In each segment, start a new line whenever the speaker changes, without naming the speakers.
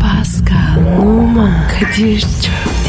Pascal, Oman, Kadir çok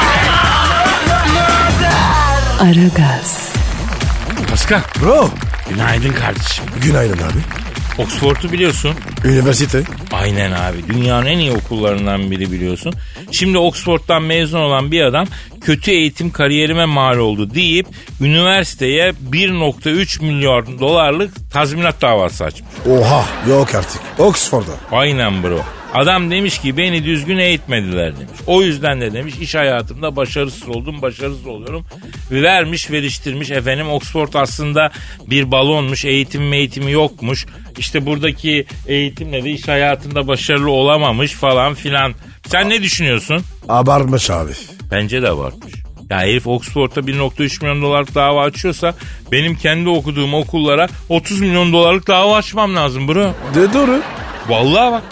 Aragaz,
Pascal.
Bro.
Günaydın kardeşim.
Günaydın abi.
Oxford'u biliyorsun.
Üniversite.
Aynen abi. Dünyanın en iyi okullarından biri biliyorsun. Şimdi Oxford'dan mezun olan bir adam kötü eğitim kariyerime mal oldu deyip üniversiteye 1.3 milyar dolarlık tazminat davası açmış.
Oha. Yok artık. Oxford'a.
Aynen bro. Adam demiş ki beni düzgün eğitmediler demiş. O yüzden de demiş iş hayatımda başarısız oldum, başarısız oluyorum. Vermiş, veriştirmiş efendim. Oxford aslında bir balonmuş, eğitim eğitimi yokmuş. İşte buradaki eğitimle de iş hayatında başarılı olamamış falan filan. Sen ne düşünüyorsun?
Abartmış abi.
Bence de abartmış. Ya herif Oxford'da 1.3 milyon dolarlık dava açıyorsa benim kendi okuduğum okullara 30 milyon dolarlık dava açmam lazım bro.
De doğru.
Vallahi bak.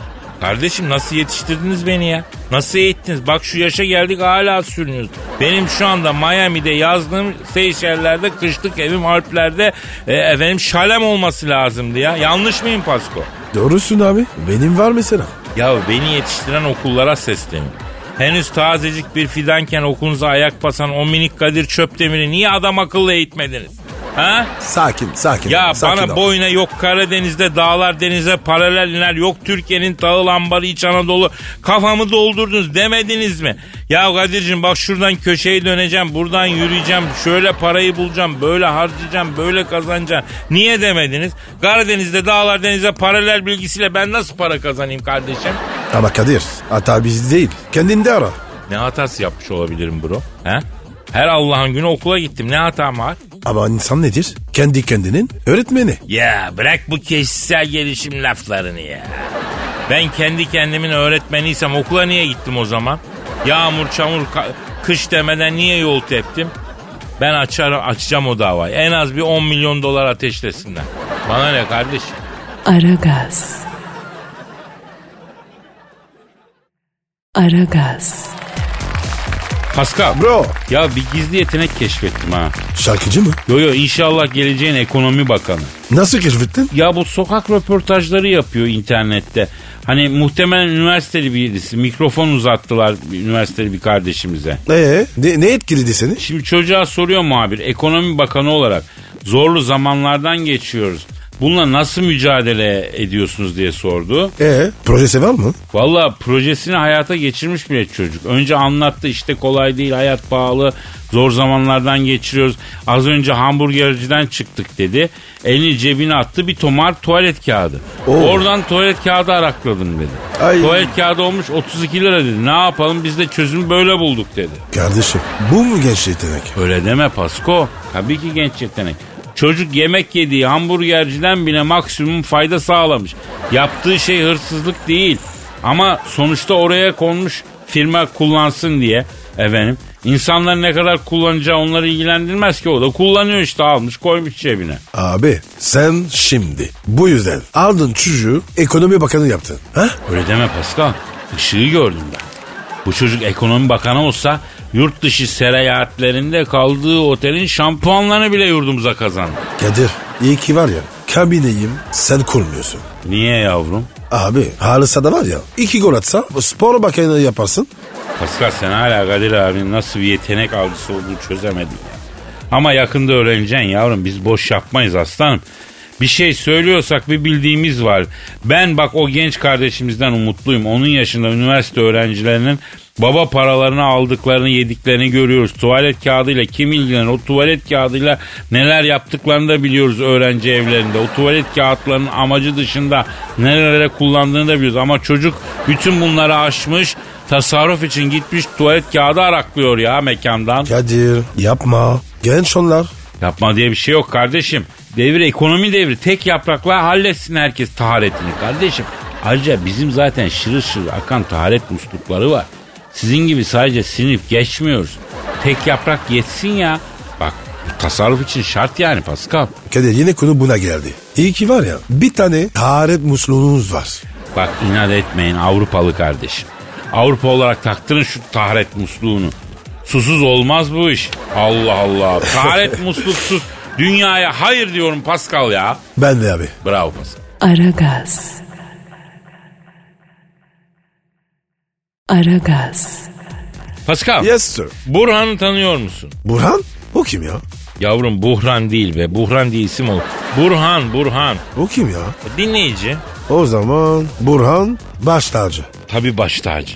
Kardeşim nasıl yetiştirdiniz beni ya? Nasıl eğittiniz? Bak şu yaşa geldik hala sürünüyoruz. Benim şu anda Miami'de yazdığım Seyşeller'de kışlık evim Alpler'de e, efendim şalem olması lazımdı ya. Yanlış mıyım Pasko?
Doğrusun abi. Benim var mesela.
Ya beni yetiştiren okullara sesleniyorum. Henüz tazecik bir fidanken okulunuza ayak basan o minik Kadir Çöpdemir'i niye adam akıllı eğitmediniz? Ha?
Sakin sakin.
Ya
sakin
bana
ol.
boyuna yok Karadeniz'de dağlar denize paralel iner yok Türkiye'nin tağı lambarı İç Anadolu kafamı doldurdunuz demediniz mi? Ya Kadir'cim bak şuradan köşeyi döneceğim buradan yürüyeceğim şöyle parayı bulacağım böyle harcayacağım böyle kazanacağım niye demediniz? Karadeniz'de dağlar denize paralel bilgisiyle ben nasıl para kazanayım kardeşim?
Ama Kadir hata biz değil. Kendinde ara.
Ne hatası yapmış olabilirim bro? He? Her Allah'ın günü okula gittim ne hatam var?
Ama insan nedir? Kendi kendinin öğretmeni.
Ya bırak bu kişisel gelişim laflarını ya. Ben kendi kendimin öğretmeniysem okula niye gittim o zaman? Yağmur, çamur, ka- kış demeden niye yol teptim? Ben açarım, açacağım o davayı. En az bir 10 milyon dolar ateşlesinler. Bana ne kardeşim?
Aragaz. Aragaz,
Pascal.
Bro.
Ya bir gizli yetenek keşfettim ha.
Şarkıcı mı?
Yo yo inşallah geleceğin ekonomi bakanı.
Nasıl keşfettin?
Ya bu sokak röportajları yapıyor internette. Hani muhtemelen üniversiteli birisi. Mikrofon uzattılar bir- üniversiteli bir kardeşimize.
Ee, ne, ne etkiledi seni?
Şimdi çocuğa soruyor muhabir ekonomi bakanı olarak zorlu zamanlardan geçiyoruz. Bununla nasıl mücadele ediyorsunuz diye sordu.
Ee, projesi var mı?
Valla projesini hayata geçirmiş bile çocuk. Önce anlattı işte kolay değil hayat pahalı zor zamanlardan geçiriyoruz. Az önce hamburgerciden çıktık dedi. Elini cebine attı bir tomar tuvalet kağıdı.
Oo.
Oradan tuvalet kağıdı arakladım dedi.
Ay.
Tuvalet kağıdı olmuş 32 lira dedi. Ne yapalım biz de çözümü böyle bulduk dedi.
Kardeşim bu mu genç yetenek?
Öyle deme Pasko. Tabii ki genç yetenek. Çocuk yemek yediği hamburgerciden bile maksimum fayda sağlamış. Yaptığı şey hırsızlık değil. Ama sonuçta oraya konmuş firma kullansın diye efendim. İnsanlar ne kadar kullanacağı onları ilgilendirmez ki o da kullanıyor işte almış koymuş cebine.
Abi sen şimdi bu yüzden aldın çocuğu ekonomi bakanı yaptın. Ha?
Öyle deme Pascal. Işığı gördüm ben. Bu çocuk ekonomi bakanı olsa yurt dışı seyahatlerinde kaldığı otelin şampuanlarını bile yurdumuza kazandı.
Kadir iyi ki var ya kabineyim sen kurmuyorsun.
Niye yavrum?
Abi halısa da var ya iki gol atsa spor bakanı yaparsın.
Pascal sen hala Kadir abinin nasıl bir yetenek avcısı olduğunu çözemedin ya. Ama yakında öğreneceksin yavrum biz boş yapmayız aslanım. Bir şey söylüyorsak bir bildiğimiz var. Ben bak o genç kardeşimizden umutluyum. Onun yaşında üniversite öğrencilerinin baba paralarını aldıklarını yediklerini görüyoruz. Tuvalet kağıdıyla kim ilgilenir? O tuvalet kağıdıyla neler yaptıklarını da biliyoruz öğrenci evlerinde. O tuvalet kağıtlarının amacı dışında nerelere kullandığını da biliyoruz. Ama çocuk bütün bunları aşmış. Tasarruf için gitmiş tuvalet kağıdı araklıyor ya mekandan.
Kadir yapma genç onlar.
Yapma diye bir şey yok kardeşim. Devir ekonomi devri. Tek yaprakla halletsin herkes taharetini kardeşim. Ayrıca bizim zaten şırıl şırıl akan taharet muslukları var. Sizin gibi sadece sinip geçmiyoruz. Tek yaprak yetsin ya. Bak bu tasarruf için şart yani Pascal.
Kadir yine konu buna geldi. İyi ki var ya bir tane taharet musluğunuz var.
Bak inat etmeyin Avrupalı kardeşim. Avrupa olarak taktırın şu taharet musluğunu. Susuz olmaz bu iş. Allah Allah. Taharet musluksuz dünyaya hayır diyorum Pascal ya.
Ben de abi.
Bravo Pascal.
Aragaz. Aragaz.
Pascal.
Yes sir.
Burhan'ı tanıyor musun?
Burhan? O kim ya?
Yavrum Buhran değil be. Buhran diye isim olur. Burhan, Burhan.
O kim ya?
Dinleyici.
O zaman Burhan baş tacı.
Tabi baş tacı.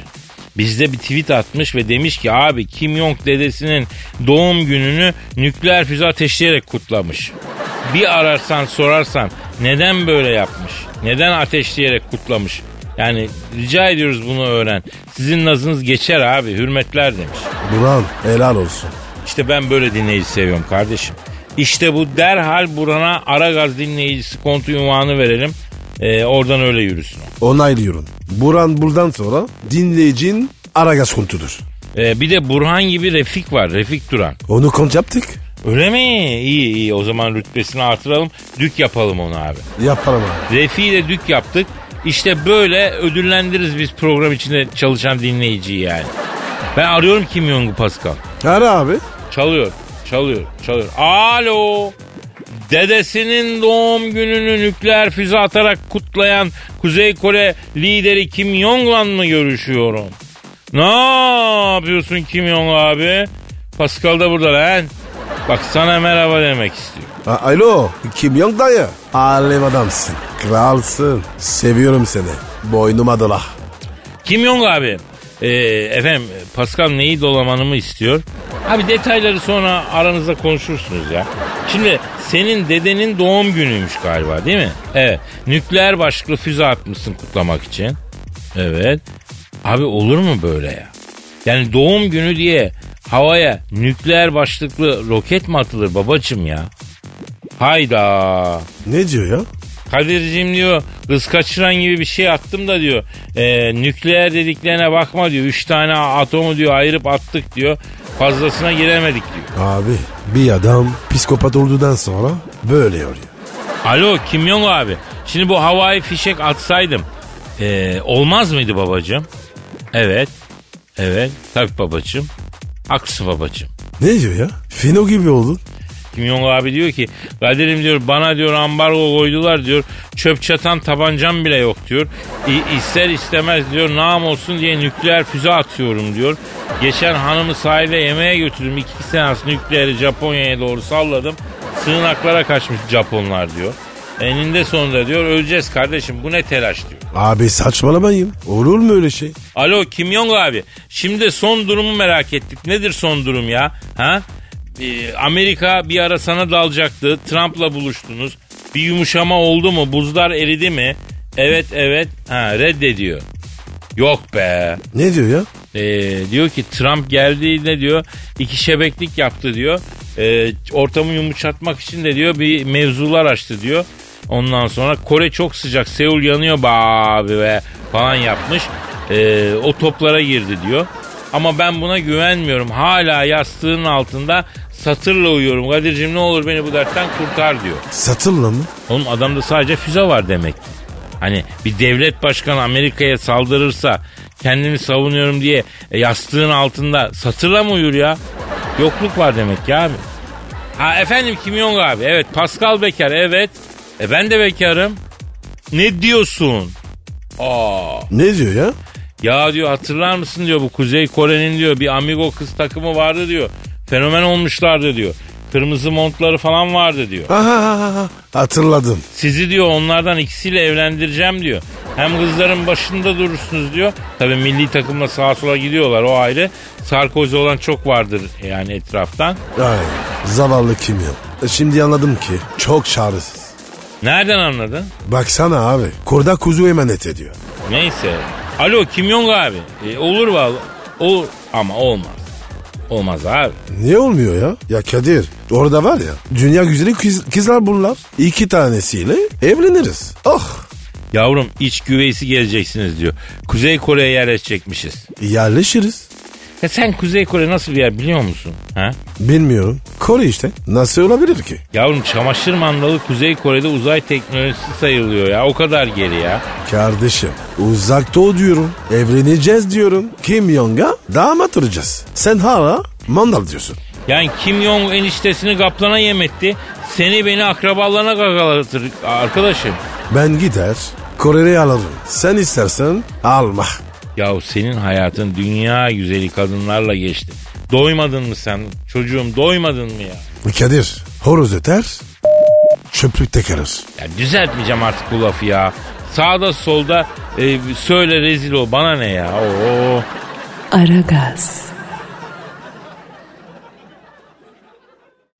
Bizde bir tweet atmış ve demiş ki abi Kim Jong dedesinin doğum gününü nükleer füze ateşleyerek kutlamış. Bir ararsan sorarsan neden böyle yapmış? Neden ateşleyerek kutlamış? Yani rica ediyoruz bunu öğren. Sizin nazınız geçer abi hürmetler demiş.
Burhan helal olsun.
İşte ben böyle dinleyici seviyorum kardeşim. İşte bu derhal Burhan'a Aragaz dinleyicisi kontu unvanı verelim. Ee, oradan öyle yürüsün. o.
Onaylıyorum. Burhan buradan sonra dinleyicin Aragaz kontudur.
Ee, bir de Burhan gibi Refik var. Refik Duran.
Onu kont yaptık.
Öyle mi? İyi iyi. O zaman rütbesini artıralım. Dük yapalım onu abi.
Yaparım abi.
Refi ile dük yaptık. İşte böyle ödüllendiririz biz program içinde çalışan dinleyiciyi yani. Ben arıyorum Kim Jong-un Pascal.
Ara abi.
Çalıyor, çalıyor, çalıyor. Alo. Dedesinin doğum gününü nükleer füze atarak kutlayan Kuzey Kore lideri Kim Jong-un'la mı görüşüyorum? Ne yapıyorsun Kim Jong abi? Pascal da burada lan. Bak sana merhaba demek istiyor.
A- Alo. Kim Jong dayı? Alem adamsın. Kralsın. Seviyorum seni. Boynuma dola.
Kim Jong abi? Ee, efendim Pascal neyi dolamanımı istiyor? Abi detayları sonra aranızda konuşursunuz ya. Şimdi senin dedenin doğum günüymüş galiba değil mi? Evet. Nükleer başlıklı füze atmışsın kutlamak için. Evet. Abi olur mu böyle ya? Yani doğum günü diye havaya nükleer başlıklı roket mi atılır babacım ya? Hayda.
Ne diyor ya?
Kadir'cim diyor kız kaçıran gibi bir şey attım da diyor e, nükleer dediklerine bakma diyor. Üç tane atomu diyor ayırıp attık diyor. Fazlasına giremedik diyor.
Abi bir adam psikopat olduğundan sonra böyle oluyor.
Alo Kim Jong abi şimdi bu havai fişek atsaydım e, olmaz mıydı babacığım? Evet. Evet tabii babacığım. Aksı babacığım.
Ne diyor ya? Fino gibi oldun.
Kim Jong abi diyor ki Kadir'im diyor bana diyor ambargo koydular diyor. Çöp çatan tabancam bile yok diyor. İ- ister istemez diyor nam olsun diye nükleer füze atıyorum diyor. Geçen hanımı sahile yemeğe götürdüm. iki seans nükleeri Japonya'ya doğru salladım. Sığınaklara kaçmış Japonlar diyor. Eninde sonunda diyor öleceğiz kardeşim bu ne telaş diyor.
Abi saçmalamayın. Olur mu öyle şey?
Alo Kim Jong abi. Şimdi son durumu merak ettik. Nedir son durum ya? Ha? Ee, Amerika bir ara sana dalacaktı. Trump'la buluştunuz. Bir yumuşama oldu mu? Buzlar eridi mi? Evet evet. Ha, reddediyor. Yok be.
Ne diyor ya?
Ee, diyor ki Trump geldiğinde diyor iki şebeklik yaptı diyor. Ee, ortamı yumuşatmak için de diyor bir mevzular açtı diyor. Ondan sonra Kore çok sıcak Seul yanıyor be abi ve falan yapmış. Ee, o toplara girdi diyor. Ama ben buna güvenmiyorum. Hala yastığın altında satırla uyuyorum. Kadir'cim ne olur beni bu dertten kurtar diyor.
Satırla mı?
Onun adamda sadece füze var demek. ki. Hani bir devlet başkanı Amerika'ya saldırırsa kendimi savunuyorum diye e, yastığın altında satırla mı uyur ya? Yokluk var demek ya abi. Ha efendim Kim Jong abi evet Pascal Bekar evet. E ben de bekarım. Ne diyorsun? Aa.
Ne diyor ya?
Ya diyor hatırlar mısın diyor bu Kuzey Kore'nin diyor bir amigo kız takımı vardı diyor. Fenomen olmuşlardı diyor. Kırmızı montları falan vardı diyor.
Aha, hatırladım.
Sizi diyor onlardan ikisiyle evlendireceğim diyor. Hem kızların başında durursunuz diyor. Tabii milli takımla sağa sola gidiyorlar o ayrı. Sarkozy olan çok vardır yani etraftan.
Ay, zavallı kim ya? E, Şimdi anladım ki çok çaresiz.
Nereden anladın?
Baksana abi. Kurda kuzu emanet ediyor.
Neyse. Alo Kim Jong abi. E, olur vallahi. Olur ama olmaz. Olmaz abi.
Niye olmuyor ya? Ya Kadir orada var ya dünya güzeli kız- kızlar bunlar. İki tanesiyle evleniriz. Oh
Yavrum iç güveysi gezeceksiniz diyor. Kuzey Kore'ye yerleşecekmişiz.
Yerleşiriz.
Ya sen Kuzey Kore nasıl bir yer biliyor musun? Ha?
Bilmiyorum. Kore işte. Nasıl olabilir ki?
Yavrum çamaşır mandalı Kuzey Kore'de uzay teknolojisi sayılıyor ya. O kadar geri ya.
Kardeşim uzak doğu diyorum. Evleneceğiz diyorum. Kim Jong'a damat olacağız. Sen hala mandal diyorsun.
Yani Kim Jong eniştesini kaplana yemetti. Seni beni akrabalarına gagalatır arkadaşım.
Ben gider Kore'yi alırım. Sen istersen alma.
Yahu senin hayatın dünya güzeli kadınlarla geçti. Doymadın mı sen? Çocuğum doymadın mı ya?
Kadir horoz öter çöplük tekerir.
Ya düzeltmeyeceğim artık bu lafı ya. Sağda solda e, söyle rezil ol bana ne ya? Oo.
Aragaz.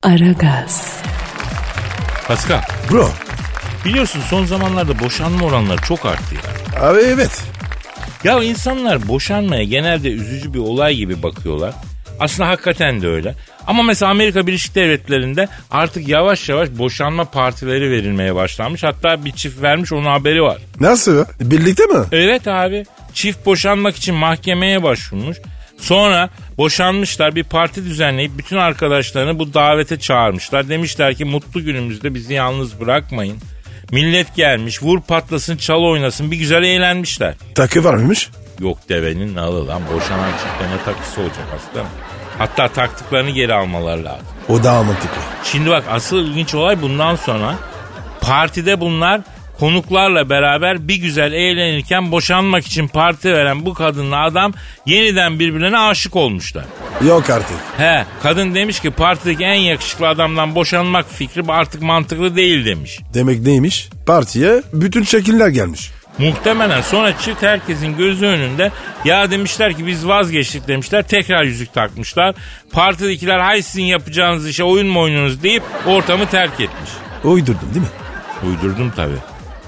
Aragaz.
Pascal
Bro
biliyorsun son zamanlarda boşanma oranları çok arttı ya.
abi evet
Ya insanlar boşanmaya genelde üzücü bir olay gibi bakıyorlar. Aslında hakikaten de öyle. Ama mesela Amerika Birleşik Devletleri'nde artık yavaş yavaş boşanma partileri verilmeye başlanmış. Hatta bir çift vermiş onun haberi var.
nasıl ya? birlikte mi?
Evet abi. Çift boşanmak için mahkemeye başvurmuş. Sonra boşanmışlar bir parti düzenleyip bütün arkadaşlarını bu davete çağırmışlar. Demişler ki mutlu günümüzde bizi yalnız bırakmayın. Millet gelmiş vur patlasın çal oynasın bir güzel eğlenmişler.
Takı varmış.
Yok devenin nalı lan boşanan çiftte ne takısı olacak aslanım. Hatta taktıklarını geri almaları lazım.
O daha mantıklı.
Şimdi bak asıl ilginç olay bundan sonra partide bunlar konuklarla beraber bir güzel eğlenirken boşanmak için parti veren bu kadınla adam yeniden birbirlerine aşık olmuşlar.
Yok artık.
He kadın demiş ki partideki en yakışıklı adamdan boşanmak fikri artık mantıklı değil demiş.
Demek neymiş? Partiye bütün şekiller gelmiş.
Muhtemelen sonra çift herkesin gözü önünde ya demişler ki biz vazgeçtik demişler tekrar yüzük takmışlar. Partidekiler hay sizin yapacağınız işe oyun mu oynuyorsunuz deyip ortamı terk etmiş.
Uydurdum değil mi?
Uydurdum tabii.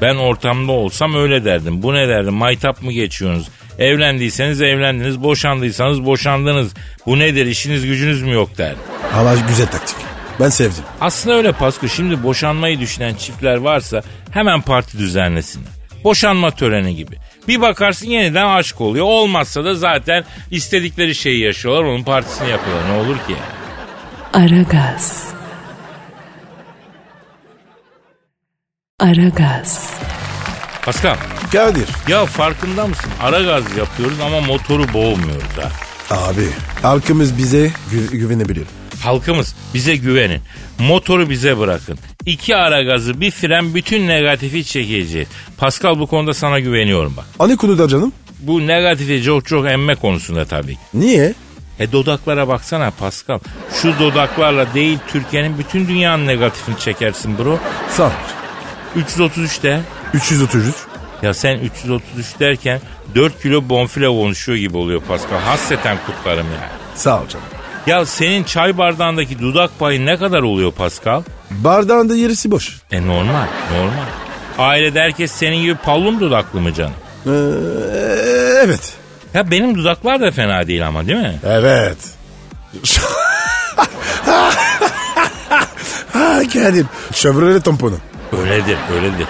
Ben ortamda olsam öyle derdim. Bu ne derdim? Maytap mı geçiyorsunuz? Evlendiyseniz evlendiniz, boşandıysanız boşandınız. Bu nedir? İşiniz gücünüz mü yok derdim.
Ama güzel taktik. Ben sevdim.
Aslında öyle Pasko. Şimdi boşanmayı düşünen çiftler varsa hemen parti düzenlesinler. Boşanma töreni gibi. Bir bakarsın yeniden aşık oluyor. Olmazsa da zaten istedikleri şeyi yaşıyorlar. Onun partisini yapıyorlar. Ne olur ki yani?
Aragaz. Aragaz.
Pascal,
Kadir.
ya farkında mısın? Ara gaz yapıyoruz ama motoru boğmuyoruz ha.
Abi halkımız bize gü- güvenebiliyor.
Halkımız bize güvenin. Motoru bize bırakın. İki ara gazı bir fren bütün negatifi çekeceğiz. Pascal bu konuda sana güveniyorum bak.
Hani konuda canım?
Bu negatifi çok çok emme konusunda tabii ki.
Niye?
E dodaklara baksana Pascal. Şu dodaklarla değil Türkiye'nin bütün dünyanın negatifini çekersin bro.
Sağ ol.
333 de.
333.
Ya sen 333 derken 4 kilo bonfile konuşuyor gibi oluyor Pascal. Hasreten kutlarım ya.
Sağ ol canım.
Ya senin çay bardağındaki dudak payı ne kadar oluyor Pascal?
Bardağın da yerisi boş.
E normal, normal. Ailede herkes senin gibi pallum dudaklı mı canım?
Ee, evet.
Ya benim dudaklar da fena değil ama değil mi?
Evet. ha Kadir. Chevrolet tamponu.
Öyledir, öyledir.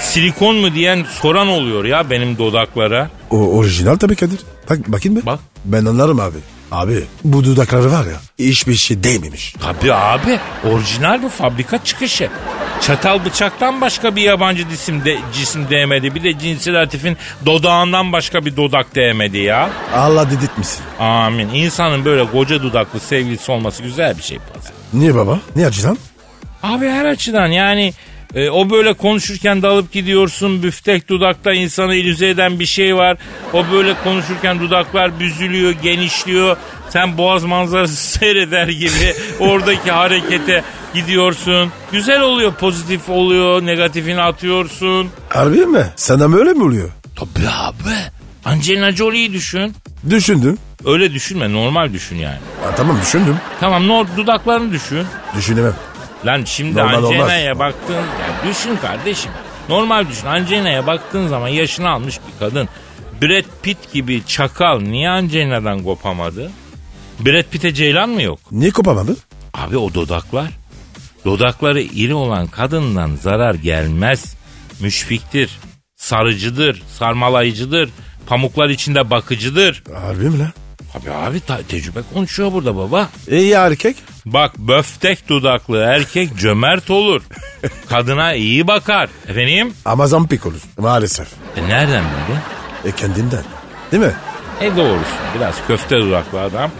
Silikon mu diyen soran oluyor ya benim dudaklara.
O orijinal tabii Kadir. Bak bakayım be.
Bak.
Ben anlarım abi. Abi bu dudakları var ya hiçbir şey değmemiş.
Tabii abi orijinal bu fabrika çıkışı. Çatal bıçaktan başka bir yabancı cisim, de, cisim değmedi. Bir de cinsel atifin dodağından başka bir dodak değmedi ya.
Allah dedirtmişsin.
Amin. İnsanın böyle koca dudaklı sevgilisi olması güzel bir şey. Pazar.
Niye baba? Niye acıdan?
Abi her açıdan yani e, o böyle konuşurken dalıp gidiyorsun. Büftek dudakta insanı ilüze eden bir şey var. O böyle konuşurken dudaklar büzülüyor, genişliyor. Sen boğaz manzarası seyreder gibi oradaki harekete gidiyorsun. Güzel oluyor, pozitif oluyor, negatifini atıyorsun.
Harbi mi? Sana mı öyle mi oluyor?
Tabii abi. Angelina Jolie'yi düşün.
Düşündüm.
Öyle düşünme, normal düşün yani.
Ha, tamam düşündüm.
Tamam, no, dudaklarını düşün.
Düşünemem.
Lan şimdi
Normal
Angelina'ya baktığın... Ya düşün kardeşim. Normal düşün. Angelina'ya baktığın zaman yaşını almış bir kadın. Brad Pitt gibi çakal niye Angelina'dan kopamadı? Brad Pitt'e ceylan mı yok?
Niye kopamadı?
Abi o dodaklar. Dodakları iri olan kadından zarar gelmez. Müşfiktir. sarıcıdır, sarmalayıcıdır, pamuklar içinde bakıcıdır.
Harbi mi lan?
Abi abi ta- tecrübe konuşuyor burada baba.
İyi erkek.
Bak böftek dudaklı erkek cömert olur. Kadına iyi bakar. Efendim?
Ama zampik olur maalesef.
E nereden böyle?
E kendinden. Değil mi?
E doğrusu biraz köfte dudaklı adam.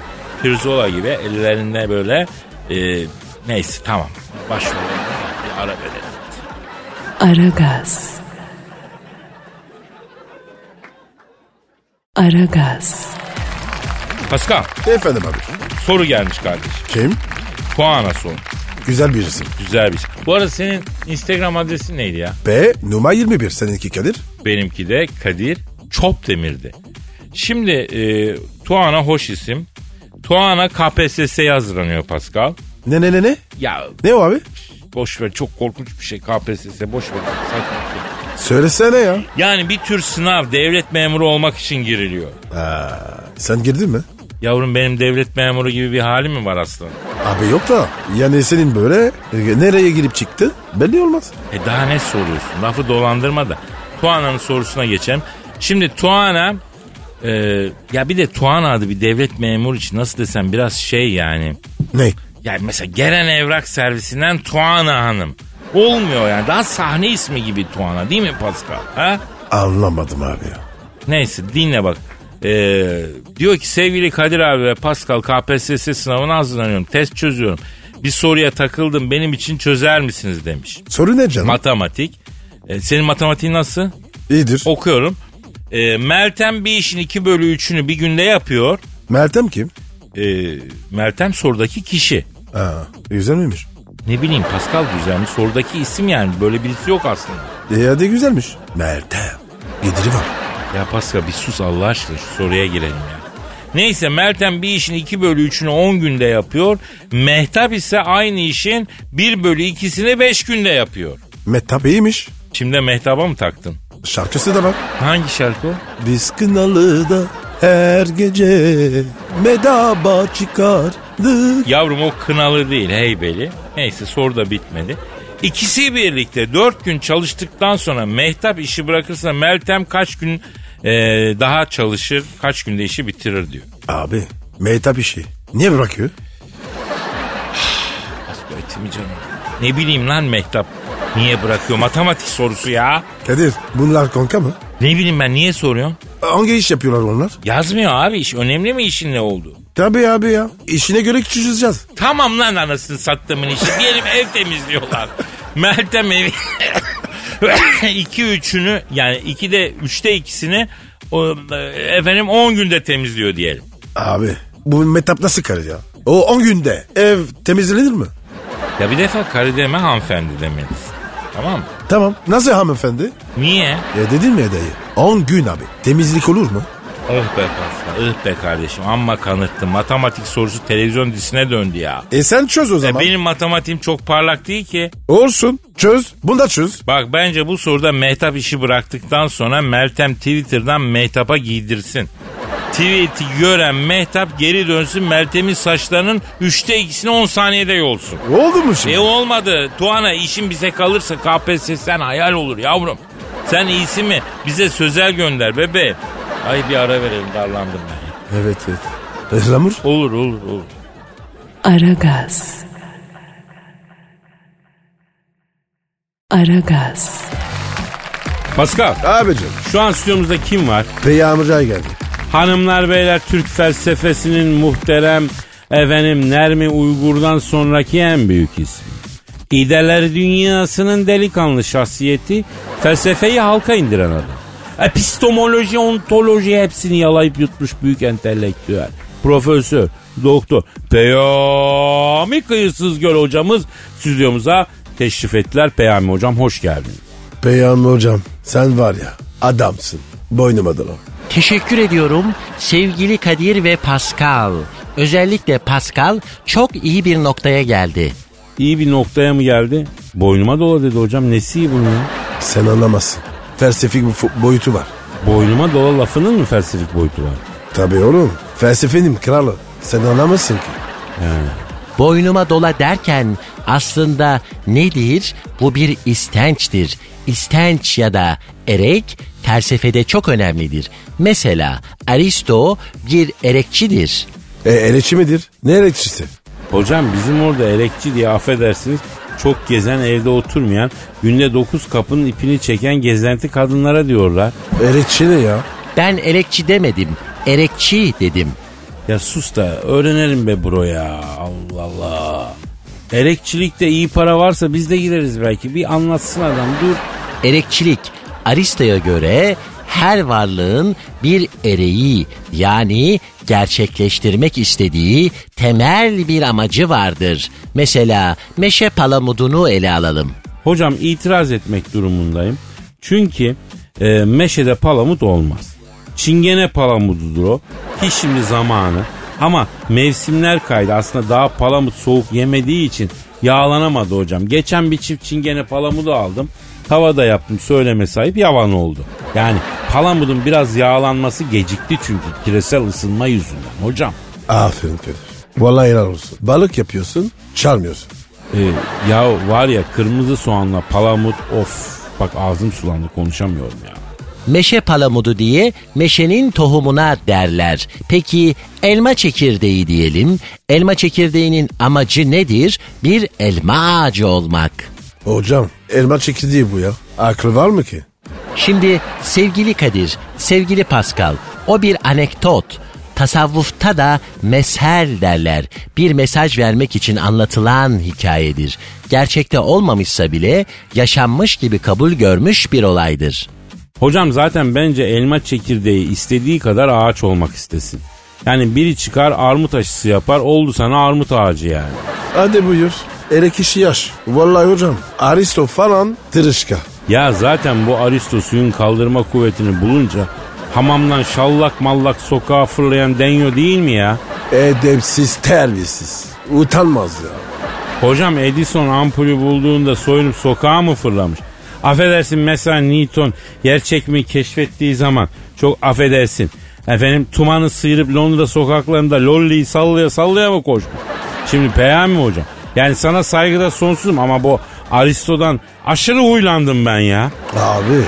Pirzola gibi ellerinde böyle e, neyse tamam. Başvuralım. Bir ara verelim.
Aragaz. Aragaz.
Pascal
Efendim abi.
soru gelmiş kardeşim.
Kim?
Puana soru.
Güzel birisi.
Güzel bir şey. Bu arada senin Instagram adresin neydi ya?
B numara 21 seninki Kadir.
Benimki de Kadir Çopdemir'di. Şimdi e, Tuana hoş isim. Tuana KPSS'ye hazırlanıyor Pascal.
Ne ne ne ne?
Ya
Ne o abi?
boş ver çok korkunç bir şey KPSS boş ver. Saçma bir şey.
Söylesene ya.
Yani bir tür sınav devlet memuru olmak için giriliyor.
Sen girdin mi?
Yavrum benim devlet memuru gibi bir halim mi var aslında?
Abi yok da yani senin böyle e, nereye girip çıktı belli olmaz.
E daha ne soruyorsun? Lafı dolandırma da. Tuana'nın sorusuna geçelim. Şimdi Tuana e, ya bir de Tuana adı bir devlet memuru için nasıl desem biraz şey yani.
Ne?
Yani mesela gelen evrak servisinden Tuana Hanım. Olmuyor yani. Daha sahne ismi gibi Tuana değil mi Pascal? Ha?
Anlamadım abi ya.
Neyse dinle bak. Ee, diyor ki sevgili Kadir abi ve Pascal KPSS sınavına hazırlanıyorum. Test çözüyorum. Bir soruya takıldım benim için çözer misiniz demiş.
Soru ne canım?
Matematik. Ee, senin matematiğin nasıl?
İyidir.
Okuyorum. Ee, Meltem bir işin 2 bölü 3'ünü bir günde yapıyor.
Meltem kim?
Ee, Meltem sorudaki kişi.
Ha, güzel miymiş?
Ne bileyim Pascal güzel mi? Sorudaki isim yani böyle birisi yok aslında.
E hadi güzelmiş. Meltem. Gidiri var.
Ya Pascal bir sus Allah aşkına şu soruya girelim ya. Neyse Meltem bir işin 2 bölü 3'ünü 10 günde yapıyor. Mehtap ise aynı işin 1 bölü 2'sini 5 günde yapıyor.
Mehtap iyiymiş.
Şimdi Mehtap'a mı taktın?
Şarkısı da var.
Hangi şarkı o?
Biz Kınalı'da her gece medaba çıkardık.
Yavrum o kınalı değil heybeli. Neyse soru da bitmedi. İkisi birlikte 4 gün çalıştıktan sonra Mehtap işi bırakırsa Meltem kaç gün eee, daha çalışır, kaç günde işi bitirir diyor.
Abi Mehtap işi. Niye bırakıyor?
Aslı etimi canım. Ne bileyim lan Mehtap. Niye bırakıyor? Matematik sorusu ya.
Kadir bunlar kanka mı?
Ne bileyim ben niye soruyorum?
Hangi iş yapıyorlar onlar?
Yazmıyor abi iş. Önemli mi işin ne oldu?
Tabii abi ya. İşine göre küçüleceğiz.
Tamam lan anasını sattığımın işi. Diyelim ev temizliyorlar. Meltem evi. 2 üçünü yani 2'de 3'te ikisini o, e, efendim 10 günde temizliyor diyelim.
Abi bu Mehtap nasıl karı ya? O 10 günde ev temizlenir mi?
Ya bir defa karı deme hanımefendi demelisin. Tamam mı?
Tamam. Nasıl hanımefendi?
Niye?
Ya dedim ya dayı. 10 gün abi. Temizlik olur mu?
Oh be Pascal, ıh be kardeşim amma kanıttın. Matematik sorusu televizyon dizisine döndü ya.
E sen çöz o
E
zaman.
benim matematiğim çok parlak değil ki.
Olsun. Çöz. Bunu da çöz.
Bak bence bu soruda Mehtap işi bıraktıktan sonra Meltem Twitter'dan Mehtap'a giydirsin. Tweet'i gören Mehtap geri dönsün Meltem'in saçlarının üçte ikisini 10 saniyede yolsun.
Oldu mu şimdi?
E olmadı. Tuana işin bize kalırsa KPSS'den hayal olur yavrum. Sen iyisi mi? Bize sözel gönder bebeğim. Ay bir ara verelim darlandım ben. ya.
Evet evet. E, Lamur?
Olur olur olur.
Aragaz. Aragaz.
Pascal
Abicim.
şu an stüdyomuzda kim var?
Peygamber'e geldi.
Hanımlar beyler Türk felsefesinin muhterem efendim Nermi Uygur'dan sonraki en büyük ismi. İdeler dünyasının delikanlı şahsiyeti felsefeyi halka indiren adam. Epistemoloji, ontoloji hepsini yalayıp yutmuş büyük entelektüel. Profesör, doktor, Peyami Kıyısız Göl hocamız stüdyomuza teşrif ettiler. Peyami hocam hoş geldiniz.
Peygamber hocam sen var ya adamsın. Boynuma dolan.
Teşekkür ediyorum sevgili Kadir ve Pascal. Özellikle Pascal çok iyi bir noktaya geldi.
İyi bir noktaya mı geldi? Boynuma dola dedi hocam. Nesi iyi bunun ya?
Sen anlamazsın. Felsefik bir fo- boyutu var.
Boynuma dola lafının mı felsefik boyutu var?
Tabii oğlum. Felsefenim kralı. Sen anlamazsın ki.
Boynuma dola derken aslında nedir? Bu bir istençtir. İstenç ya da erek felsefede çok önemlidir. Mesela Aristo bir erekçidir.
E, elekçi midir? Ne elekçisi?
Hocam bizim orada elekçi diye affedersiniz çok gezen evde oturmayan günde 9 kapının ipini çeken gezenti kadınlara diyorlar.
Elekçi ne ya?
Ben erekçi demedim, erekçi dedim.
Ya sus da öğrenelim be bro ya Allah Allah. Erekçilikte iyi para varsa biz de gireriz belki. Bir anlatsın adam dur.
Erekçilik Aristo'ya göre her varlığın bir ereği yani gerçekleştirmek istediği temel bir amacı vardır. Mesela meşe palamudunu ele alalım.
Hocam itiraz etmek durumundayım. Çünkü e, meşede palamut olmaz. Çingene palamududur o. Ki şimdi zamanı. Ama mevsimler kaydı. Aslında daha palamut soğuk yemediği için yağlanamadı hocam. Geçen bir çift çingene palamudu aldım. Tavada yaptım söyleme sahip yavan oldu. Yani palamudun biraz yağlanması gecikti çünkü küresel ısınma yüzünden hocam.
Aferin Kadir. Vallahi helal olsun. Balık yapıyorsun, çalmıyorsun.
E, ya var ya kırmızı soğanla palamut of bak ağzım sulandı konuşamıyorum ya.
Meşe palamudu diye meşenin tohumuna derler. Peki elma çekirdeği diyelim. Elma çekirdeğinin amacı nedir? Bir elma ağacı olmak.
Hocam elma çekirdeği bu ya. Aklı var mı ki?
Şimdi sevgili Kadir, sevgili Pascal, o bir anekdot. Tasavvufta da mesel derler. Bir mesaj vermek için anlatılan hikayedir. Gerçekte olmamışsa bile yaşanmış gibi kabul görmüş bir olaydır.
Hocam zaten bence elma çekirdeği istediği kadar ağaç olmak istesin. Yani biri çıkar armut aşısı yapar oldu sana armut ağacı yani.
Hadi buyur. Erek işi yaş. Vallahi hocam Aristo falan tırışka.
Ya zaten bu Aristo suyun kaldırma kuvvetini bulunca hamamdan şallak mallak sokağa fırlayan denyo değil mi ya?
Edepsiz, terbiyesiz. Utanmaz ya.
Hocam Edison ampulü bulduğunda soyunup sokağa mı fırlamış? Affedersin mesela Newton yer çekimi keşfettiği zaman çok affedersin. Efendim tumanı sıyırıp Londra sokaklarında lolliyi sallaya sallaya mı koşmuş? Şimdi Peyami hocam. Yani sana saygıda sonsuzum ama bu Aristo'dan aşırı huylandım ben ya.
Abi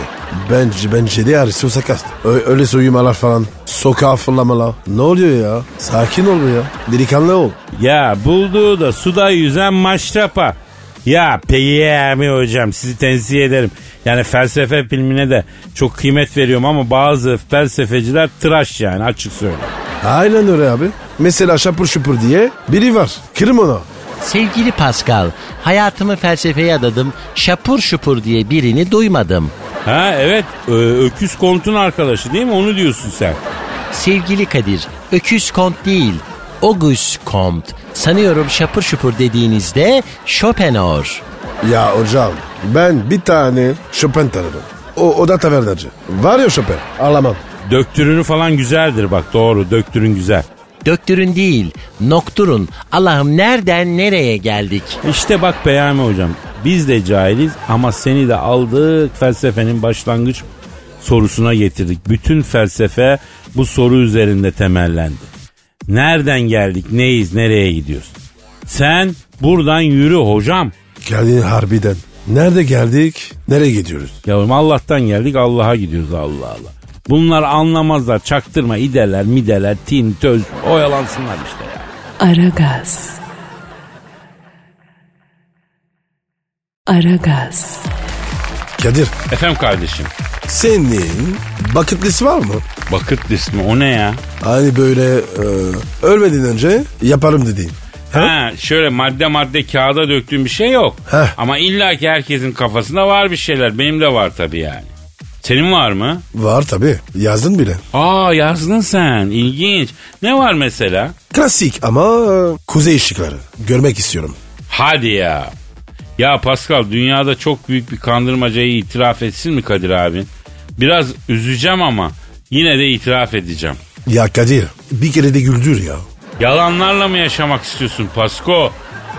bence bence de Aristo sakat. Ö- öyle soyumalar falan. Sokağa fırlamalar. Ne oluyor ya? Sakin ol be ya. Delikanlı ol.
Ya bulduğu da suda yüzen maşrapa. Ya Peyami hocam sizi tenzih ederim. Yani felsefe filmine de çok kıymet veriyorum ama bazı felsefeciler tıraş yani açık söyle.
Aynen öyle abi. Mesela şapur şupur diye biri var. Kırım onu.
Sevgili Pascal, hayatımı felsefeye adadım. Şapur şupur diye birini duymadım.
Ha evet ö- öküz kontun arkadaşı değil mi onu diyorsun sen.
Sevgili Kadir, öküz kont değil, August Comte. Sanıyorum şapur şupur dediğinizde Schopenhauer.
Ya hocam ben bir tane Chopin tanırım. O, o da tavernacı. Var ya Chopin. Alamam.
Döktürünü falan güzeldir bak doğru döktürün güzel.
Döktürün değil, nokturun. Allah'ım nereden nereye geldik?
İşte bak Peyami hocam biz de cahiliz ama seni de aldık felsefenin başlangıç sorusuna getirdik. Bütün felsefe bu soru üzerinde temellendi. Nereden geldik, neyiz, nereye gidiyoruz? Sen buradan yürü hocam.
Geldin harbiden. Nerede geldik? Nereye gidiyoruz?
Yavrum Allah'tan geldik Allah'a gidiyoruz Allah Allah. Bunlar anlamazlar çaktırma ideler mideler tin töz oyalansınlar işte ya.
Aragaz. Aragaz.
Kadir
Efendim kardeşim.
senin bucket list var mı?
Bucket list mi? O ne ya?
Hani böyle e, ölmeden önce yaparım dediğin.
Ha, şöyle madde madde kağıda döktüğüm bir şey yok.
Heh.
Ama illa ki herkesin kafasında var bir şeyler. Benim de var tabii yani. Senin var mı?
Var tabi yazdın bile.
Aa yazdın sen. İlginç. Ne var mesela?
Klasik ama e, kuzey ışıkları. Görmek istiyorum.
Hadi ya. Ya Pascal dünyada çok büyük bir kandırmacayı itiraf etsin mi Kadir abi? Biraz üzeceğim ama yine de itiraf edeceğim.
Ya Kadir bir kere de güldür ya.
Yalanlarla mı yaşamak istiyorsun Pasko?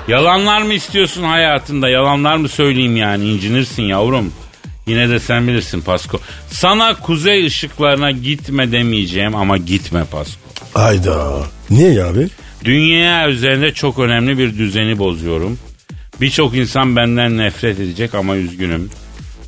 Yalanlar mı istiyorsun hayatında? Yalanlar mı söyleyeyim yani? İncinirsin yavrum. Yine de sen bilirsin Pasko. Sana kuzey ışıklarına gitme demeyeceğim ama gitme Pasko.
Ayda. Niye ya abi?
Dünya üzerinde çok önemli bir düzeni bozuyorum. Birçok insan benden nefret edecek ama üzgünüm.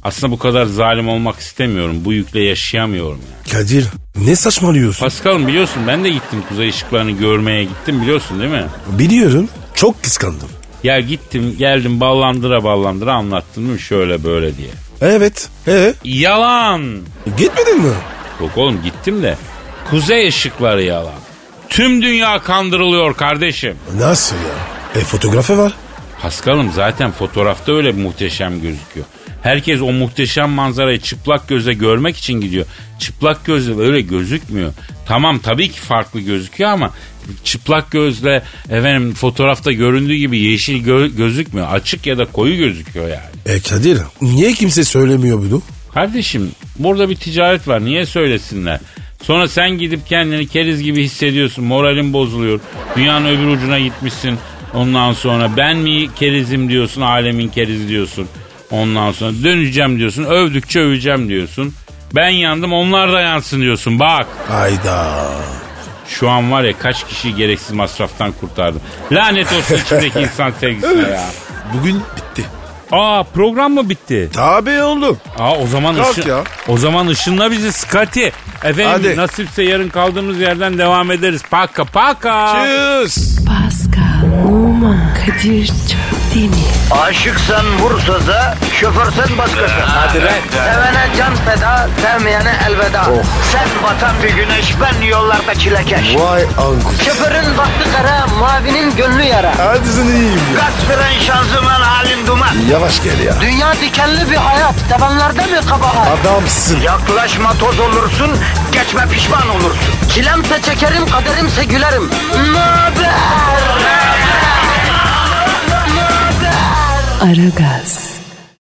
Aslında bu kadar zalim olmak istemiyorum. Bu yükle yaşayamıyorum. Yani.
Kadir ne saçmalıyorsun?
Paskal'ım biliyorsun ben de gittim kuzey ışıklarını görmeye gittim biliyorsun değil mi?
Biliyorum çok kıskandım.
Ya gittim geldim ballandıra ballandıra anlattın mı şöyle böyle diye.
Evet. Ee,
Yalan.
gitmedin mi?
Yok oğlum gittim de kuzey ışıkları yalan. Tüm dünya kandırılıyor kardeşim.
Nasıl ya? E fotoğrafı var.
Paskal'ım zaten fotoğrafta öyle muhteşem gözüküyor. Herkes o muhteşem manzarayı çıplak gözle görmek için gidiyor. Çıplak gözle öyle gözükmüyor. Tamam tabii ki farklı gözüküyor ama çıplak gözle efendim fotoğrafta göründüğü gibi yeşil gö- gözükmüyor. Açık ya da koyu gözüküyor yani.
E Kadir niye kimse söylemiyor bunu?
Kardeşim burada bir ticaret var niye söylesinler? Sonra sen gidip kendini keriz gibi hissediyorsun. Moralin bozuluyor. Dünyanın öbür ucuna gitmişsin. Ondan sonra ben mi kerizim diyorsun, alemin kerizi diyorsun. Ondan sonra döneceğim diyorsun, övdükçe öveceğim diyorsun. Ben yandım onlar da yansın diyorsun bak.
Hayda.
Şu an var ya kaç kişiyi gereksiz masraftan kurtardım. Lanet olsun içimdeki insan sevgisine ya.
Bugün bitti.
Aa program mı bitti?
Tabii oğlum.
Aa o zaman
Kalk
ışın,
ya.
o zaman ışınla bizi Skati. Efendim
Hadi.
nasipse yarın kaldığımız yerden devam ederiz. Paka paka.
Tschüss.
Pascal, Oman, Kadir çok değil mi?
Aşıksan vursa da, şoförsen başkasın. Hadi Sevene can feda, sevmeyene elveda. Sen batan bir güneş, ben yollarda çilekeş.
Vay anku.
Şoförün baktı kara, mavinin gönlü yara.
Hadi sen iyiyim ya.
Kasperen şanzıman halin duman.
Yavaş gel ya.
Dünya dikenli bir hayat, sevenlerde mi kabahar?
Adamsın.
Yaklaşma toz olursun, geçme pişman olursun. Çilemse çekerim, kaderimse gülerim. Möber!
Aragaz.